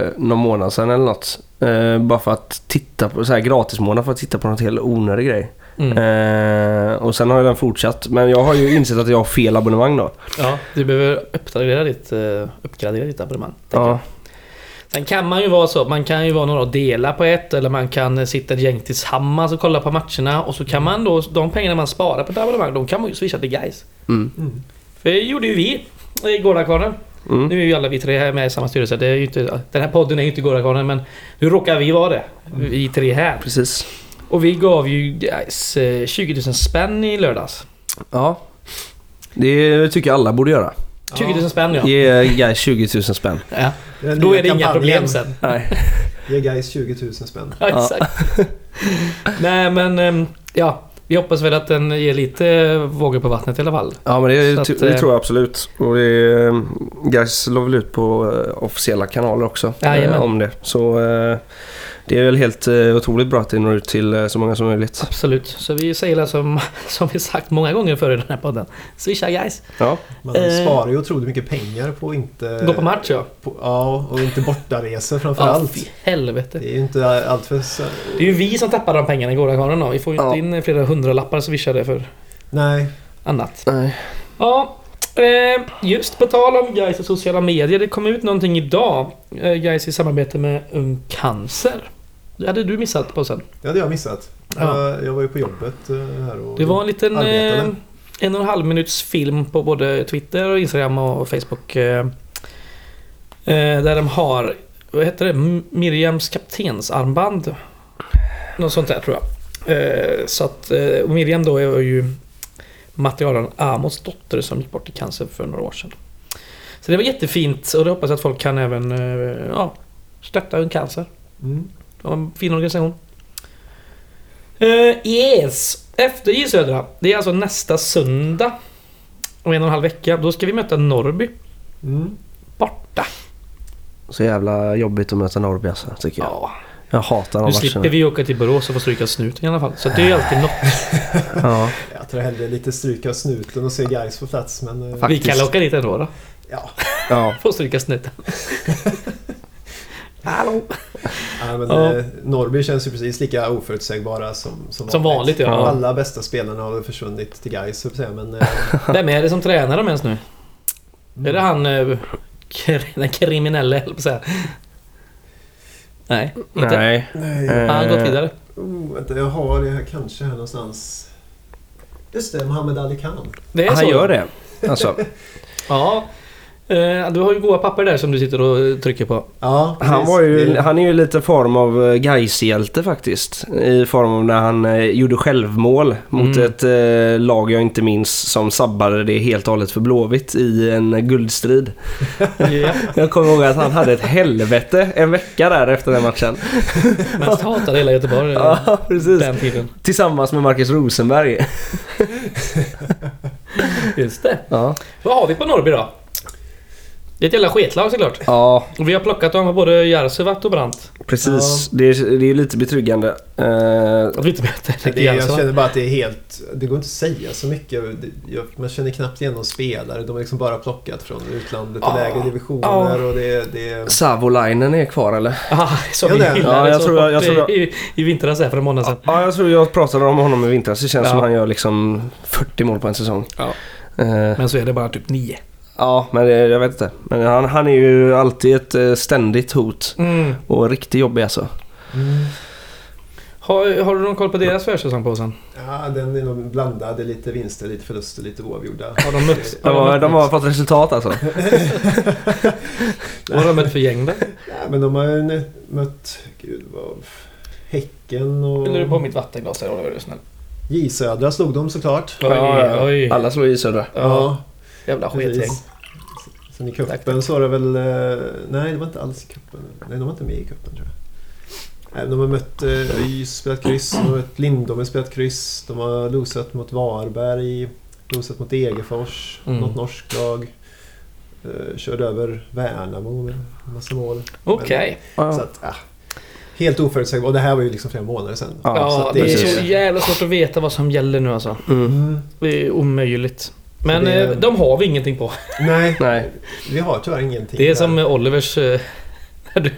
eh, någon månad sedan eller något. Eh, bara för att titta på, så här gratismånad för att titta på något helt onödig grej. Mm. Eh, och sen har ju den fortsatt. Men jag har ju insett att jag har fel abonnemang då. Ja, du behöver uppgradera ditt, eh, uppgradera ditt abonnemang. tänker jag. Ja, Sen kan man ju vara så, man kan ju vara några och dela på ett eller man kan eh, sitta ett gäng tillsammans och kolla på matcherna och så kan man då, de pengarna man sparar på ett abonnemang, de kan man ju swisha till guys. mm, Mm. För det gjorde ju vi i Gårdakvarnen. mm. Nu är ju alla vi tre här med i samma styrelse. Det är ju inte, den här podden är ju inte Gårdakvarnen men nu råkar vi vara det. Vi tre här. Precis. Och vi gav ju guys eh, 20 000 spänn i lördags. Ja. Det tycker jag alla borde göra. 20 000 spänn ja. Ge Guy 20 000 spänn. ja. Den Då nya är det inga kampanjen. problem sen. Nej. Ge guys 20 000 spänn. Ja, Ja. exakt. Nej men, ehm, ja. Vi hoppas väl att den ger lite vågor på vattnet i alla fall. Ja men det, Så att, ty- det eh, tror jag absolut. Och det, eh, Guys la väl ut på eh, officiella kanaler också Jajamän. eh, om det. Så eh, det är väl helt eh, otroligt bra att det når ut till eh, så många som möjligt. Absolut. Så vi säger det som, som vi sagt många gånger förr i den här podden. Swisha guys. Ja, Man Eh. sparar ju otroligt mycket pengar på att inte... Gå på match ja. på- ja, och inte bortaresor framför Ja, allt. fy helvete. Det är ju inte allt för... så- Det är ju vi som tappar de pengarna i Gårdakvarnen då. Vi får ju Ja. inte in flera hundralappar swishade för Nej. annat. nej. Ja, eh, just på tal om guys och sociala medier. Det kom ut någonting idag. Eh, guys i samarbete med Ung Cancer. Det hade du missat på sen. Det hade jag missat. Ja. Jag, jag var ju på jobbet eh, här och... Det var en liten eh, Arbetade. en och en halv minuts film på både Twitter och Instagram och Facebook. Eh, eh, där de har, vad heter det, M- Miriams kaptensarmband. Något sånt där tror jag. Eh, så att eh, och Miriam då är ju materialen Amos dotter som gick bort i cancer för några år sedan. Så det var jättefint och det hoppas jag att folk kan även eh, ja, stötta Ung Cancer. Mm. Ja, en fin organisation. Eh, yes! Efter J Södra. Det är alltså nästa söndag. Om en och en halv vecka. Då ska vi möta Norrby. Mm. Borta. Så jävla jobbigt att möta Norrby alltså, tycker jag. Ja. Jag hatar de Nu slipper matcherna. vi åka till Borås och få stryka snuten i alla fall. Så det är ju alltid något. Ja. Jag tar hellre lite stryk av snuten och se guys på plats men... eh, Vi Faktiskt. kan väl åka dit ändå då. Ja. ja. Få stryka snuten. Hallå! Nej, men, Ja. eh, Norrby känns ju precis lika oförutsägbara som, som, Som vanligt ja. Alla bästa spelarna har väl försvunnit till Gais, så att säga. Men, eh, Vem är det som tränar dem ens nu? Är det han... eh, kri- Den kriminelle höll jag på att säga. Nej, inte. Nej. nej. Han har gått vidare. Oh, vänta, jag har det här kanske här någonstans. Just det, Mohammed Ali Khan. Det är Han så. gör det. Alltså. Ja. Eh, Du har ju goda papper där som du sitter och trycker på. Ja, Han, precis. var ju, Det- han är ju lite form av gais hjälte faktiskt. I form av när han eh, gjorde självmål mot Mm. ett eh, lag jag inte minns som sabbade det helt och hållet för Blåvitt i en guldstrid. Ja. Jag kommer ihåg att han hade ett helvete en vecka där efter den matchen. Mest hatade hela Göteborg eh, Ja, precis. den tiden. Tillsammans med Marcus Rosenberg. Just det. Ja, Vad har vi på Norrby då? Det är ett jävla sketlag såklart. ja Och vi har plockat dem med både Jarsuvat och Brandt. precis. Det, är, det är lite betryggande. Eh, Att vi inte möter Det, är- jag Jarsuvat. känner bara att det är helt... Det går inte att säga så mycket. Det- Jag, man känner knappt igen någon spelare. De har liksom bara plockat från utlandet och Ja. lägre divisioner. Ja. Och det, det, Savolainen är kvar eller? Ah, som Ja, vi det- hyllade ja, jag så tror jag- jag hårt tror jag- i, i vintras här för en månad sedan. Ja, jag tror jag pratade om honom i vintras. Det känns Ja. som han gör liksom 40 mål på en säsong. Ja. Eh, Men så är det bara typ nio. ja, men det, jag vet inte. Men han, han är ju alltid ett eh, ständigt hot. Mm. Och riktigt jobbig alltså. mm. Har, har du någon koll på deras försäsong på sen? Ja, den är nog blandad. Det är Lite vinster, lite förluster, lite oavgjorda. Har de mött? De har, de har fått resultat alltså. Vad har de mött för gäng då? Ja, men de har ju nu mött... Gud vad... Häcken och... Fyller du på mitt vattenglas där Oliver, är du snäll? J Södra slog de såklart. Oj, oj. Alla slår i Södra. Ja, jävla sketgäng. precis. Sen i Tack, cupen tack. så var det väl... eh, Nej, det var inte alls i cupen. Nej, de var inte med i cupen tror jag. Nej, De har mött eh, YS, spelat kryss. De har mött Lindholmen, spelat kryss. De har losat mot Varberg. Losat mot Degerfors. Mm. Något norskt lag. Eh, Körde över Värnamo med en massa mål. Okej. Så att, ah, helt oförutsägbart. Och det här var ju liksom flera månader sedan. Ja, Ja, så att det är precis. så jävla svårt att veta vad som gäller nu alltså. Mm. Mm. Det är omöjligt. Men Det är- eh, de har vi ingenting på. Nej, Nej. vi har tyvärr ingenting. Det är där. som eh, Olivers... eh, när du-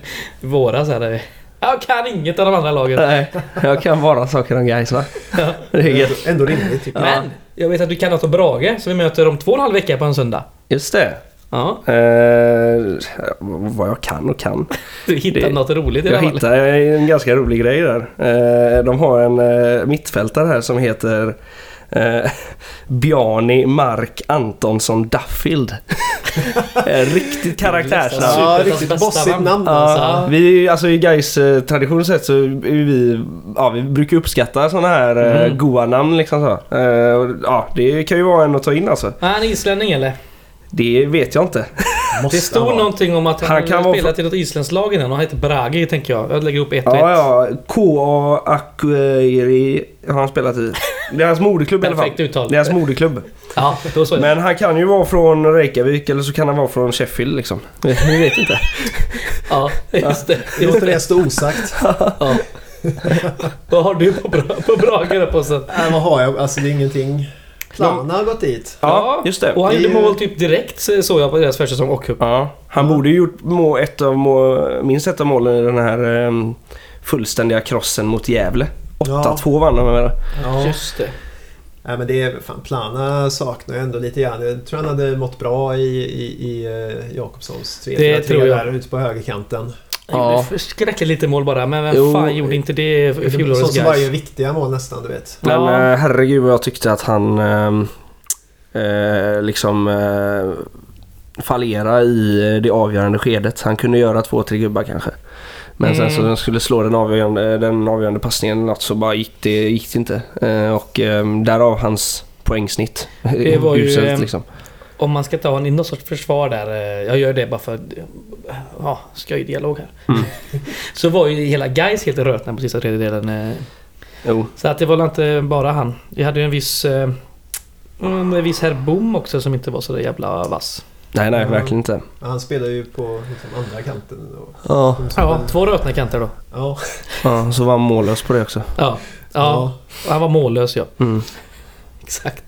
i Våras här. där vi- Jag kan inget av de andra lagen. Nej, jag kan bara saker om guys va? Det är ändå, gött. ändå rimligt tycker jag. Men! Jag vet att du kan något om Brage, så vi möter om två och en halv vecka på en söndag. Just det. Ja, Eh, vad jag kan och kan. du hittar Det- något roligt i alla Jag fall. hittade en ganska rolig grej där. Eh, De har en eh, mittfältare här som heter eh, Bjarni Mark Antonsson Duffield. En Riktigt karaktärsnamn. Superettans Ja, riktigt bästa bossigt man. namn alltså. Ja, vi, alltså i guys eh, tradition sett så är vi, ja, vi brukar uppskatta sådana här eh, Mm. goa namn liksom så. Eh, och, Ja, det kan ju vara en att ta in alltså. Är han islänning eller? Det vet jag inte. Måste Det stod han vara. någonting om att han, Han kan vara spelat i något isländskt lag innan och han heter Brage tänker jag. Jag lägger upp 1 och 1. Ja, ja. K.A. Akweri har han spelat i. Det är hans moderklubb i alla fall. Perfekt uttal. Det är hans moderklubb. Ja, då så. Men han kan ju vara från Reykjavik eller så kan han vara från Sheffield liksom. Vi vet inte. Ja, just det. Vi Just låter det. det stå osagt. Ja. Vad har du på, bra, på Brage där på sen? Nej, vad har jag? Alltså det är ingenting. Plana har gått dit. Ja, just det. Och han Det är gjorde ju- mål typ direkt så- såg jag på deras försäsong och cup. Ja, han Mm. borde ju gjort må, ett av må, minst ett av målen i den här ehm, fullständiga krossen mot Gävle. 8-2 vann de med. Ja. Just det. Nej, men det är, fan, Plana saknar jag ändå lite grann. Jag tror han hade mått bra i, i, i eh, Jakobssons 3-4-3 Det tror jag. där ute på högerkanten. Han Ja. gjorde Skräckligt lite mål bara, men vem Jo. fan gjorde inte det i Sånt fjolårets som bara gör guys? viktiga mål nästan, du vet. Men Ja. eh, herregud vad jag tyckte att han ehm, eh, liksom eh, fallera i eh, det avgörande skedet. Han kunde göra två, tre gubbar kanske. Men sen så Mm. när han skulle slå den avgörande, den avgörande passningen eller något så bara gick det, gick det inte. Eh, och ehm, därav hans poängsnitt. Det var ju, Uselt, ehm, liksom. Om man ska ta honom i något sorts försvar där, eh, jag gör det bara för eh, ja, skojdialog här. Mm. så var ju hela guys helt rötna på sista tredjedelen. eh, Jo. Så att det var väl inte bara han. Vi hade ju en viss... eh, En viss herr Boom också som inte var så där jävla vass. Nej, nej, Ja. verkligen inte. Men Han spelar ju på liksom, andra kanten. Och, Ja. Ja, två rötna kanter då. ja. Ja, så var han mållös på det också. Ja. ja. ja. Han var mållös ja. Mm. Exakt.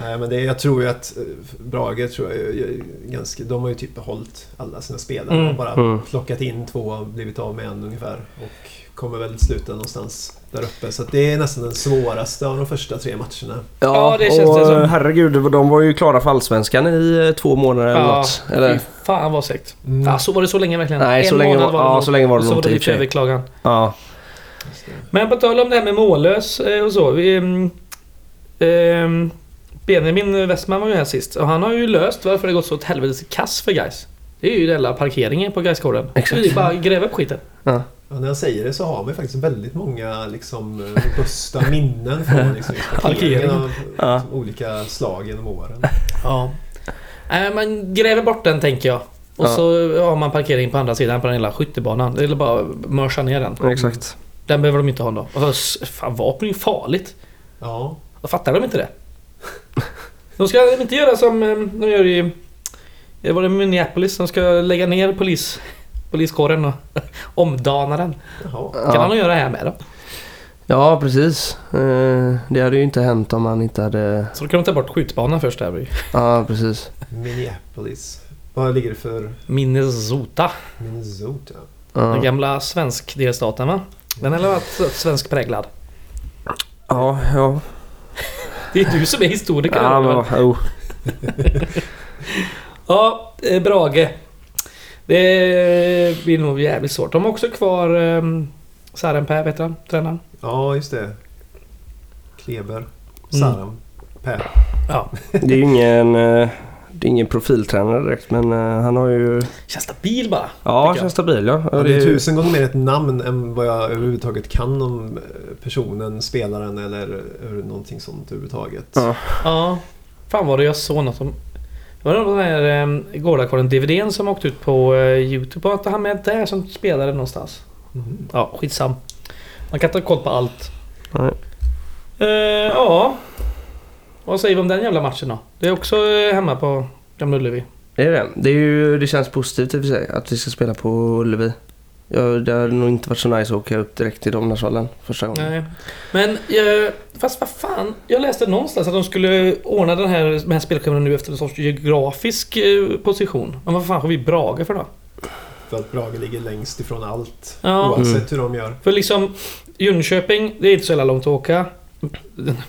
Nej, men det, jag tror ju att eh, Brage tror jag, är- är ganska, de har ju typ behållit alla sina spelare. Mm. Och bara Mm. plockat in två och blivit av med en ungefär. Och kommer väl sluta någonstans där uppe. Så att det är nästan den svåraste av de första tre matcherna. Ja, det känns och, eh, det som. Herregud, de var ju klara för Allsvenskan i eh, två månader eller Ja, något. Eller? Fy fan vad segt. Mm. Ja, så var det så länge verkligen? Nej, en så länge, månad var, ja, nog. så länge var och det så var nog det inte i och för sig. överklagan. Ja. Just det. Men på tal om det här med mållös eh, och så. Vi, mm, eh, ehm, Benjamin Westman var ju här sist och han har ju löst varför det gått så åt helvetes kass för guys. Det är ju den jävla parkeringen på Gaisgården. Exakt. Vi bara gräva upp skiten. Ja, när jag säger det så har man ju faktiskt väldigt många liksom, eh, robusta minnen från liksom, parkeringen av Ja. olika slag genom åren. Ja. Nej, Eh, man gräver bort den tänker jag. Och Ja. så har man parkering på andra sidan på den lilla skyttebanan. Eller bara mörsa ner den. Exakt. Den behöver de inte ha ändå. Och s- Fan, vapen är ju farligt. Ja, Då fattar de inte det. De ska de inte göra som eh, de gör i... Det var det Minneapolis. De ska lägga ner polis, poliskåren och omdana den. jaha. Kan han Ja. nog göra här med då. ja, precis. Eh, Det hade ju inte hänt om han inte hade... Så då kan de ta bort skjutbanan först där. Ja, precis. Minneapolis. Vad ligger det för Minnesota. Minnesota? Ja. Den gamla svensk delstaten va? Den har väl varit svensk präglad. Ja, ja. Det är du som är historiker. Ja, men, Robert. oh. ja eh, Brage. Det blir nog jävligt svårt. De har också kvar eh, Sarenpää, vet du tränaren. Ja, just det. Mm. Kleber. Saram. Per. Ja. Det är ju ingen, eh, det är ingen profiltränare direkt men eh, han har ju... Känns stabil bara. Ja, jag. känns stabil ja. Ja, Ja, det är ju- tusen gånger mer ett namn än vad jag överhuvudtaget kan om eh, personen, spelaren eller eh, någonting sånt överhuvudtaget. Ja. Ja. Fan var det jag såg något om... Det var den här eh, Gårdakåren-DVDn som åkte ut på eh, Youtube. Var inte han med där som spelade någonstans? Mhm. Ja, skitsam. Man kan inte ha koll på allt. Nej. Eh, ja. Vad säger vi om den jävla matchen då? Det är också eh, hemma på Gamla Ullevi. Det är det. Det, är ju, det känns positivt i och för sig att vi ska spela på Ullevi. Ja, det hade nog inte varit så nice att åka upp direkt till Domnarsvallen första gången. Nej. Mm. Men, eh, fast vad fan. Jag läste någonstans att de skulle ordna den här, den här spelscheman nu efter en sorts geografisk eh, position. Men vad fan har vi Brage för då? För att Brage ligger längst ifrån allt. Ja. Oavsett Mm. hur de gör. För liksom Jönköping, det är inte så jävla långt att åka.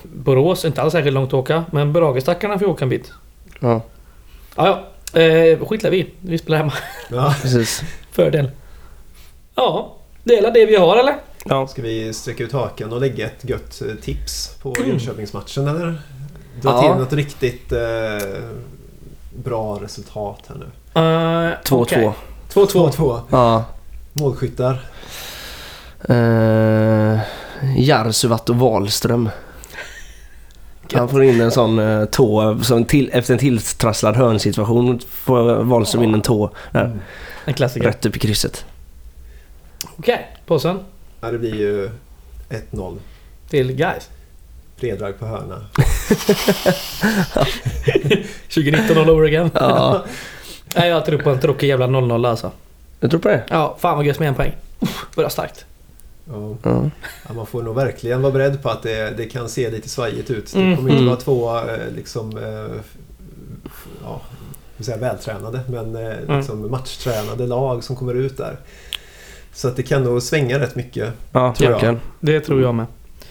Borås, inte alls särskilt långt att åka. Men Bragestackarna får ju åka en bit. Ja, Ja, ja. Eh, skitlar vi. Vi spelar hemma. Ja. precis. Fördel. Ja, det är väl det vi har eller? Ja. Ska vi sträcka ut hakan och lägga ett gött eh, tips på Jönköpingsmatchen eller? Dra Mm. Ja. till något riktigt eh, bra resultat här nu. Eh, 2-2. okej. 2-2. 2-2. Ja. Målskyttar. Uh, Jarsuvat och Wahlström. Han får in en sån eh, tå, som till, efter en tilltrasslad hörnsituation får Wahlström in en tå där, Mm. En klassiker. rätt upp i krysset. Okej, påsen. Ja, det blir ju 1-0. Till guys. Fredrag på hörna. 2019 all over again. Ja, Nej, jag tror på en tråkig jävla 0-0 alltså. jag tror på det. Ja, fan vad gött med en poäng. Uff, Börjar starkt. Ja. Ja. Ja, man får nog verkligen vara beredd på att det, det kan se lite svajigt ut. Det Mm. kommer inte Mm. vara två eh, liksom, eh, f- ja, jag vill säga vältränade, men eh, Mm. liksom matchtränade lag som kommer ut där. Så att det kan nog svänga rätt mycket. Ja, Tror jag. verkligen. Det tror jag med.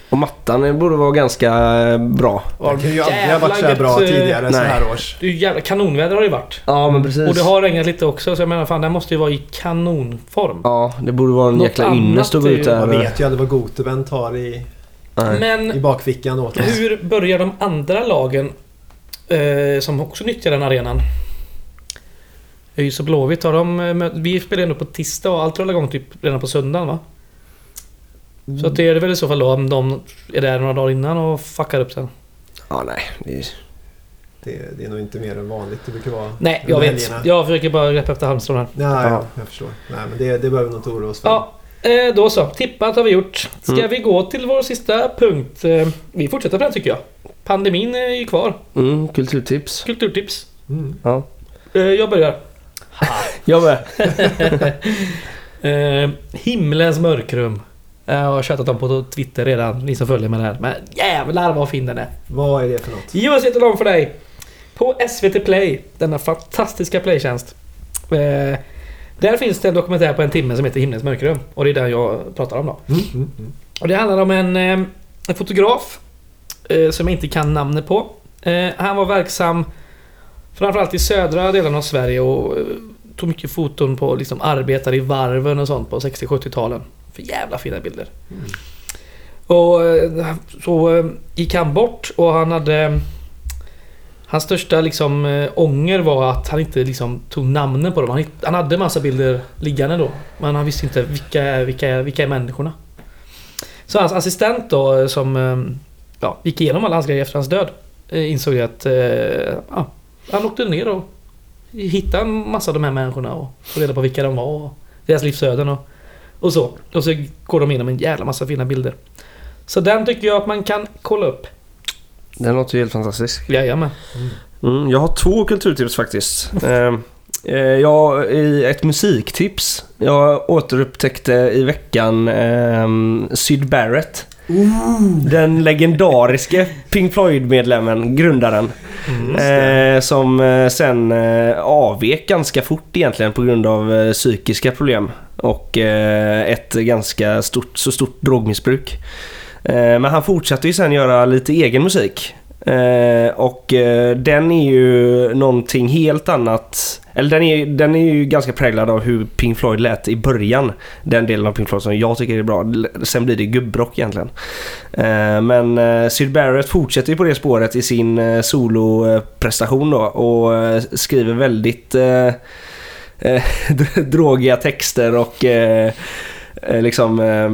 Och mattan borde vara ganska eh, bra. Det kan ju aldrig ha jävla varit så här bra gött, eh, tidigare så nej. här års. Det är ju jävla kanonväder har det varit. Ja, men precis. Och det har regnat lite också, så jag menar fan den måste ju vara i kanonform. Ja, det borde vara en Något jäkla annat ynnest att gå är ju- ut Man där. vet ju aldrig vad Goteben tar i, Nej. i Men bakfickan åt oss. hur börjar de andra lagen eh, som också nyttjar den arenan? ÖIS och Blåvitt, har de... eh, mö- Vi spelar ändå på tisdag och allt rullar igång typ redan på söndagen va? Mm. Så att det är väl i så fall då om de är där några dagar innan och fuckar upp sen. Ja, nej. Det är... Det, det är nog inte mer än vanligt. Det brukar vara Nej, jag under vet. helgerna. Jag försöker bara greppa efter halmstrån här. Nej, ja, Ja. jag förstår. Nej, men det, det behöver vi nog inte oroa oss för. Ja, eh, då så. Tippat har vi gjort. Ska Mm. vi gå till vår sista punkt? Eh, Vi fortsätter på den tycker jag. Pandemin är ju kvar. Mm, kulturtips. Kulturtips. Mm. Ja. Eh, Jag börjar. Jag med. Eh, himlens mörkrum. Eh, Jag har tjatat om på Twitter redan, ni som följer med där. Men jävlar vad fin den är. Vad är det för något? US heter de för dig. På SVT Play, denna fantastiska playtjänst. Eh, där finns det en dokumentär på en timme som heter Himlens mörkrum. Och det är den jag pratar om då. Mm, mm, mm. Och det handlar om en, eh, en fotograf eh, som jag inte kan namnet på. Eh, Han var verksam framförallt i södra delen av Sverige och eh, tog mycket foton på liksom arbetare i varven och sånt på 60-70-talen. För jävla fina bilder. Mm. Och eh, så eh, gick han bort och han hade Hans största liksom, eh, ånger var att han inte liksom, tog namnen på dem. Han, hitt- han hade massa bilder liggande då. Men han visste inte vilka, är- vilka, är- vilka är människorna. Så hans assistent då eh, som eh, ja, gick igenom alla hans grejer efter hans död. eh, Insåg ju att eh, ja, han åkte ner och hittade en massa av de här människorna och tog reda på vilka de var och deras livsöden och, och så. Och så går de igenom en jävla massa fina bilder. Så den tycker jag att man kan kolla upp. Den låter ju helt fantastisk. Jajamän. Mm, jag har två kulturtips faktiskt. Eh, eh, jag, i ett musiktips. Jag återupptäckte i veckan eh, Syd Barrett. Den legendariske Pink Floyd-medlemmen, grundaren. Eh, som eh, sen eh, avvek ganska fort egentligen på grund av eh, psykiska problem. Och eh, ett ganska stort, så stort drogmissbruk. Eh, men han fortsatte ju sen göra lite egen musik. Eh, och eh, den är ju någonting helt annat. Eller den är, den är ju ganska präglad av hur Pink Floyd lät i början. Den delen av Pink Floyd som jag tycker är bra. L- Sen blir det gubbrock egentligen. Eh, men eh, Syd Barrett fortsätter ju på det spåret i sin eh, soloprestation då och eh, skriver väldigt eh, eh, drogiga texter och eh, eh, liksom eh,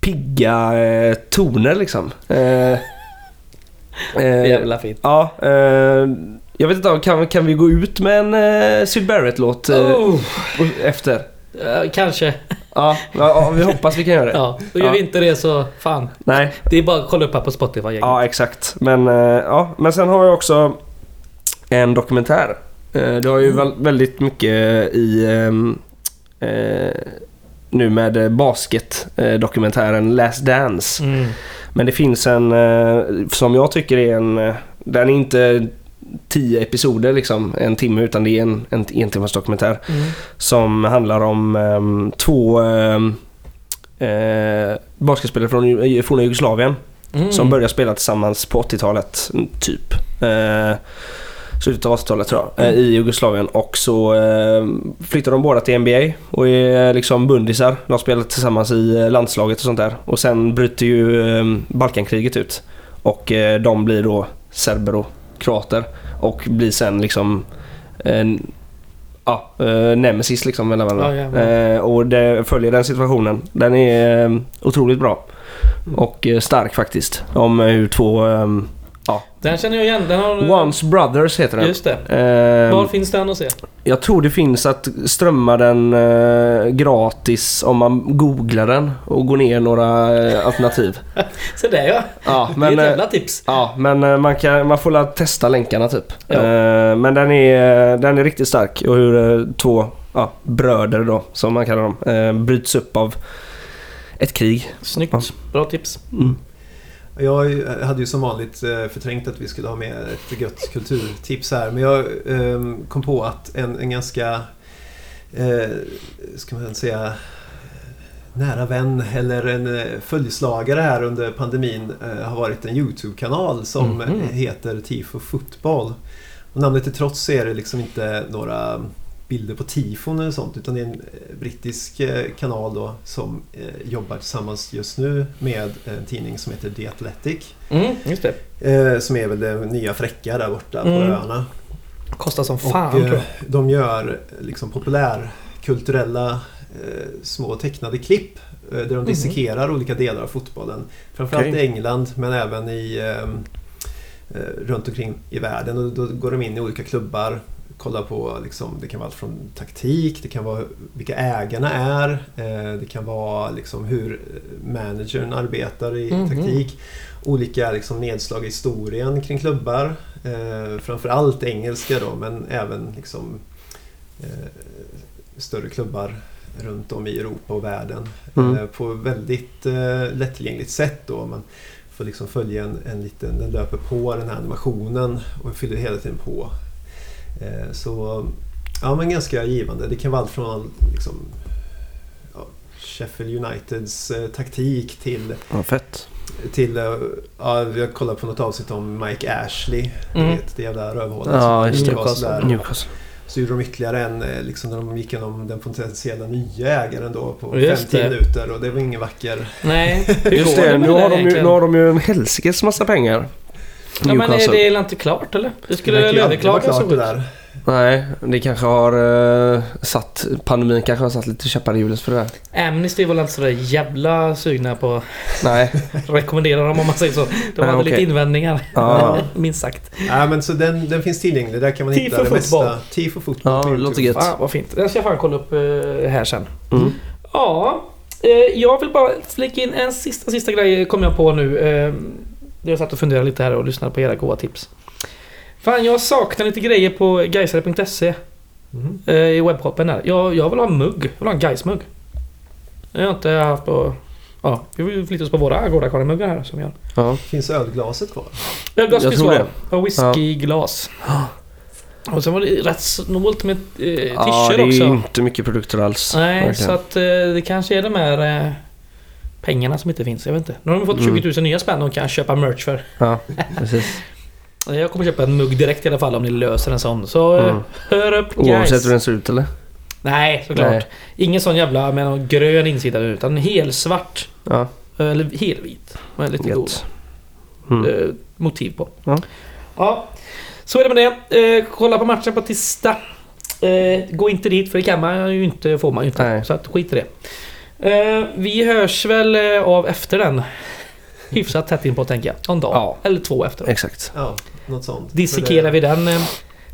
pigga eh, toner liksom. Eh, eh, Jävla fint. Ja, eh, jag vet inte, kan, kan vi gå ut med en eh, Syd Barrett-låt eh, Oh, och- efter? eh, kanske. Ja, ja, ja, vi hoppas vi kan göra det. Ja, och gör Ja. vi inte det så fan. Nej, Det är bara att kolla upp här på Spotify. gänget. ja exakt. Men, eh, ja, men sen har jag också en dokumentär. Eh, det har ju väl- väldigt mycket i ehm, eh, nu med eh, basket-dokumentären Last Dance. Mm. Men det finns en eh, som jag tycker är en... eh, Den är inte tio episoder liksom, en timme, utan det är en, en, en timmars dokumentär. Mm. Som handlar om eh, två ehm, eh, basketspelare från Ju- forna Jugoslavien Mm. som började spela tillsammans på 80-talet, mm, typ. Eh, slutet av 80-talet tror jag, eh, i Jugoslavien. Och så eh, flyttade de båda till NBA och är liksom bundisar. De spelar tillsammans i eh, landslaget och sånt där. Och sen bryter ju eh, Balkankriget ut. Och eh, de blir då serber och kroater. Och blir sen liksom en Ja, eh, nemesis liksom mellan Ja, varandra. jävlar. eh, och det följer den situationen. Den är eh, otroligt bra. Och eh, stark faktiskt. Om eh, hur två... ehm, Den känner jag igen. Den har... Once Brothers heter den. Just det. Ehm, Var finns den att se? jag tror det finns att strömma den eh, gratis om man googlar den och går ner några eh, alternativ. Se där ja. Ja, det är men, ett eh, jävla tips. ja, men eh, man, kan, man får la testa länkarna typ. Ja. Eh, men den är, den är riktigt stark och hur eh, två ja, bröder då, som man kallar dem, eh, bryts upp av ett krig. Mm. Ja. Snyggt. Bra tips. Jag hade ju som vanligt eh, förträngt att vi skulle ha med ett gött kulturtips här. Men jag eh, kom på att en, en ganska, eh, ska man säga, nära vän eller en eh, följeslagare här under pandemin eh, har varit en YouTube-kanal som Mhm. heter Tifo Fotboll. Och namnet till trots så är det liksom inte några bilder på tifon eller sånt utan det är en eh, brittisk eh, kanal då som eh, jobbar tillsammans just nu med en tidning som heter The Athletic. Mm, just det. Eh, som är väl det nya fräcka där borta på Mm. öarna. Kostar som Och, fan eh, tror jag. de gör eh, liksom populärkulturella eh, små tecknade klipp eh, där Mm. de dissekerar olika delar av fotbollen. Framförallt Okej. i England men även i, ehm, eh, runt omkring i världen. Och då går de in i olika klubbar kollar på, liksom, det kan vara allt från taktik, det kan vara vilka ägarna är, eh, det kan vara liksom hur eh, managern arbetar i Mhm. taktik. Olika liksom, nedslag i historien kring klubbar. Eh, framförallt engelska då, men även liksom, eh, större klubbar runt om i Europa och världen. Mm. Eh, på väldigt eh, lättillgängligt sätt då. Man får liksom följa en, en liten, den löper på den här animationen och fyller hela tiden på. Eh, så ja, men ganska givande. Det kan vara allt från liksom, ja, Sheffield Uniteds eh, taktik till Ja, fett. till, eh, ja, jag kollade på något avsnitt om Mike Ashley. Mm. Du vet, det jävla rövhålet. Ja, som just det. Newcastle är. Newcastle. Så gjorde de ytterligare en, eh, liksom, när de gick igenom den potentiella nya ägaren då på Just 50 det. minuter och det var ingen vacker... Nej, hur Just går det, med nu där har, de ju, egentligen? nu har de ju en helsikes massa pengar. Ja, men är Newcastle. det är inte klart eller? Det Det skulle verkar väl ju aldrig vara överklagas klart så det fort. där. Nej, det kanske har eh, satt... Pandemin kanske har satt lite käppar i hjulet för det där. Amnesty var inte så där jävla sugna på att Nej. rekommendera dem om man säger så. De Ja, hade lite okej. invändningar. Ja. Minst sagt. Ja, men så den, den finns tillgänglig. Där kan man Tifo hitta det fotboll. mesta. Tifo fotboll. Ja, på det YouTube. låter gött. Fan vad fint. Den ska jag fan kolla upp eh, här sen. Mm. Ja, eh, jag vill bara flika in en sista, sista grej kom jag på nu. Eh, jag satt och funderade lite här och lyssnade på era goa tips. Fan, jag saknar lite grejer på gaisare.se Mhm. eh, i webbshoppen där. Jag, jag vill ha en mugg. Jag vill ha en Gais-mugg. Det har jag inte haft på... Ja, vi vill flytta oss på våra Agordakarlen-muggar här som jag Ja. Finns ölglaset kvar? Ölglas Jag finns tror kvar. Och whiskyglas. Och sen var det rätt snålt med eh, t-shirt ja, det är också. ju inte mycket produkter alls. Nej, verkligen. så att eh, det kanske är de här eh, pengarna som inte finns. Jag vet inte. Nu har de fått Mm. 20 000 nya spänn de kan köpa merch för. Ja, precis. Eh, Jag kommer köpa en mugg direkt i alla fall om ni löser en sån. Så eh, Mm. hör upp guys. Oavsett hur den ser ut eller? Nej, såklart. Nej. Ingen sån jävla med någon grön insida utan helsvart. Ja, eh, Eller helvit. Med lite Gött. goda mm. eh, motiv på. Ja. Ja, så är det med det. Eh, kolla på matchen på tisdag. Eh, gå inte dit för det kan man ju inte, får man ju inte. Nej. Så att skit i det. Eh, vi hörs väl eh, av efter den. Hyfsat tätt in på tänker jag. Någon dag. Ja. Eller två efter. exakt. Ja, något sånt. Dissekerar vi den eh,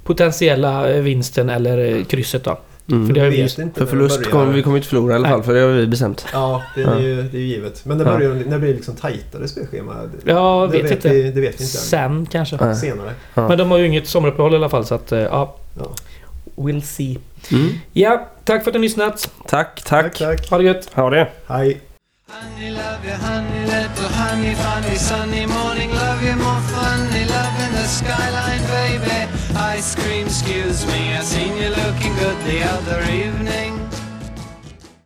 potentiella eh, vinsten eller eh, krysset då. Mm. För det har Jag vi vet just... inte För när den förlust börjar. kommer vi kommer inte förlora i alla fall, för det har vi bestämt. Ja, det är, ju, det är ju givet. Men när, Ja. börjar, när blir det liksom tajtare spelschema? Det- Ja, det vet inte. Vi, det vet vi inte än. Sen kanske. Nej. Senare. Ja. Men de har ju inget sommaruppehåll i alla fall så att eh, ja, Ja. we'll see. Mm. Ja, tack för att ni har lyssnat. Tack, Tack, tack. tack. Ha det gött. Ha det. Hej. Honey, love you, honey, little honey, funny, sunny morning, love you more funny, love in the skyline, baby. Ice cream, excuse me, I seen you looking good the other evening.